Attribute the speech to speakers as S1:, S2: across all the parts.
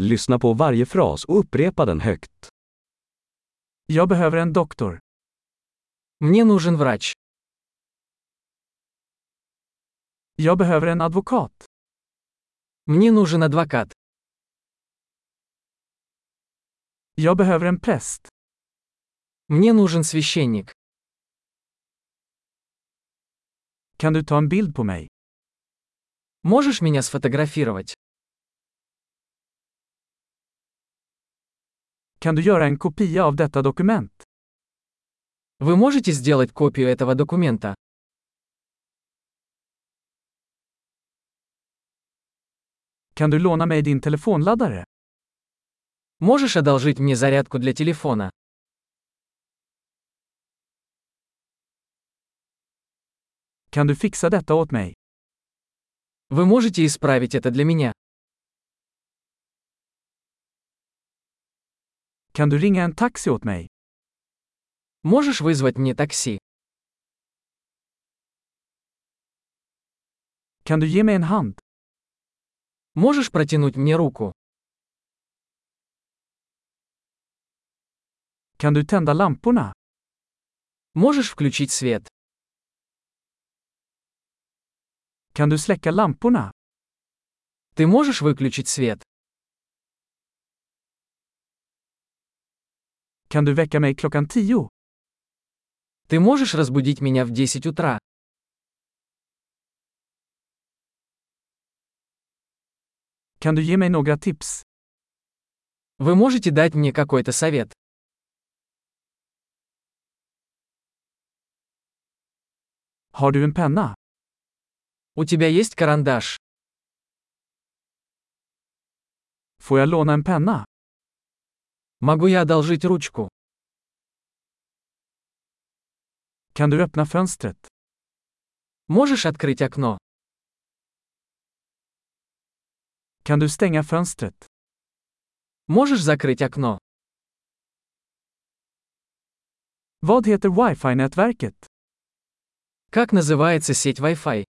S1: Lyssna på varje fras och upprepa den högt.
S2: Jag behöver en doktor. Мне нужен врач. Jag behöver en advokat. Мне нужен адвокат. Jag behöver en präst. Мне нужен священник. Kan du ta en bild på mig? Можешь меня сфотографировать? Kan du göra en kopia av detta dokument? Вы можете сделать копию этого документа? Kan du låna mig din telefonladdare? Можешь одолжить мне зарядку для телефона? Kan du fixa detta åt mig? Вы можете исправить это для меня? Kan du ringa en taxi åt mig? Можешь вызвать мне такси? Kan du ge mig en hand? Можешь протянуть мне руку? Kan du tända lamporna? Можешь включить свет? Kan du släcka lamporna? Ты можешь выключить свет? Kan du väcka mig klockan 10? Ты можешь разбудить меня в 10 утра? Kan du ge mig några tips? Вы можете дать мне какой-то совет? Har du en penna? У тебя есть карандаш? Får jag låna en penna? Могу я одолжить ручку? Kan du öppna fönstret? Можешь открыть окно? Kan du stänga fönstret? Можешь закрыть окно? Vad heter Wi-Fi-nätverket? Как называется сеть Wi-Fi?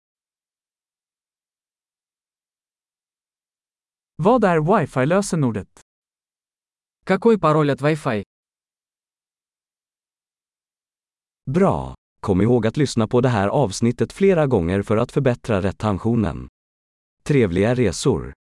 S2: Vad är Wi-Fi-lösenordet? Какой пароль от Wi-Fi?
S1: Bra! Kom ihåg att lyssna på det här avsnittet flera gånger för att förbättra retentionen. Trevliga resor!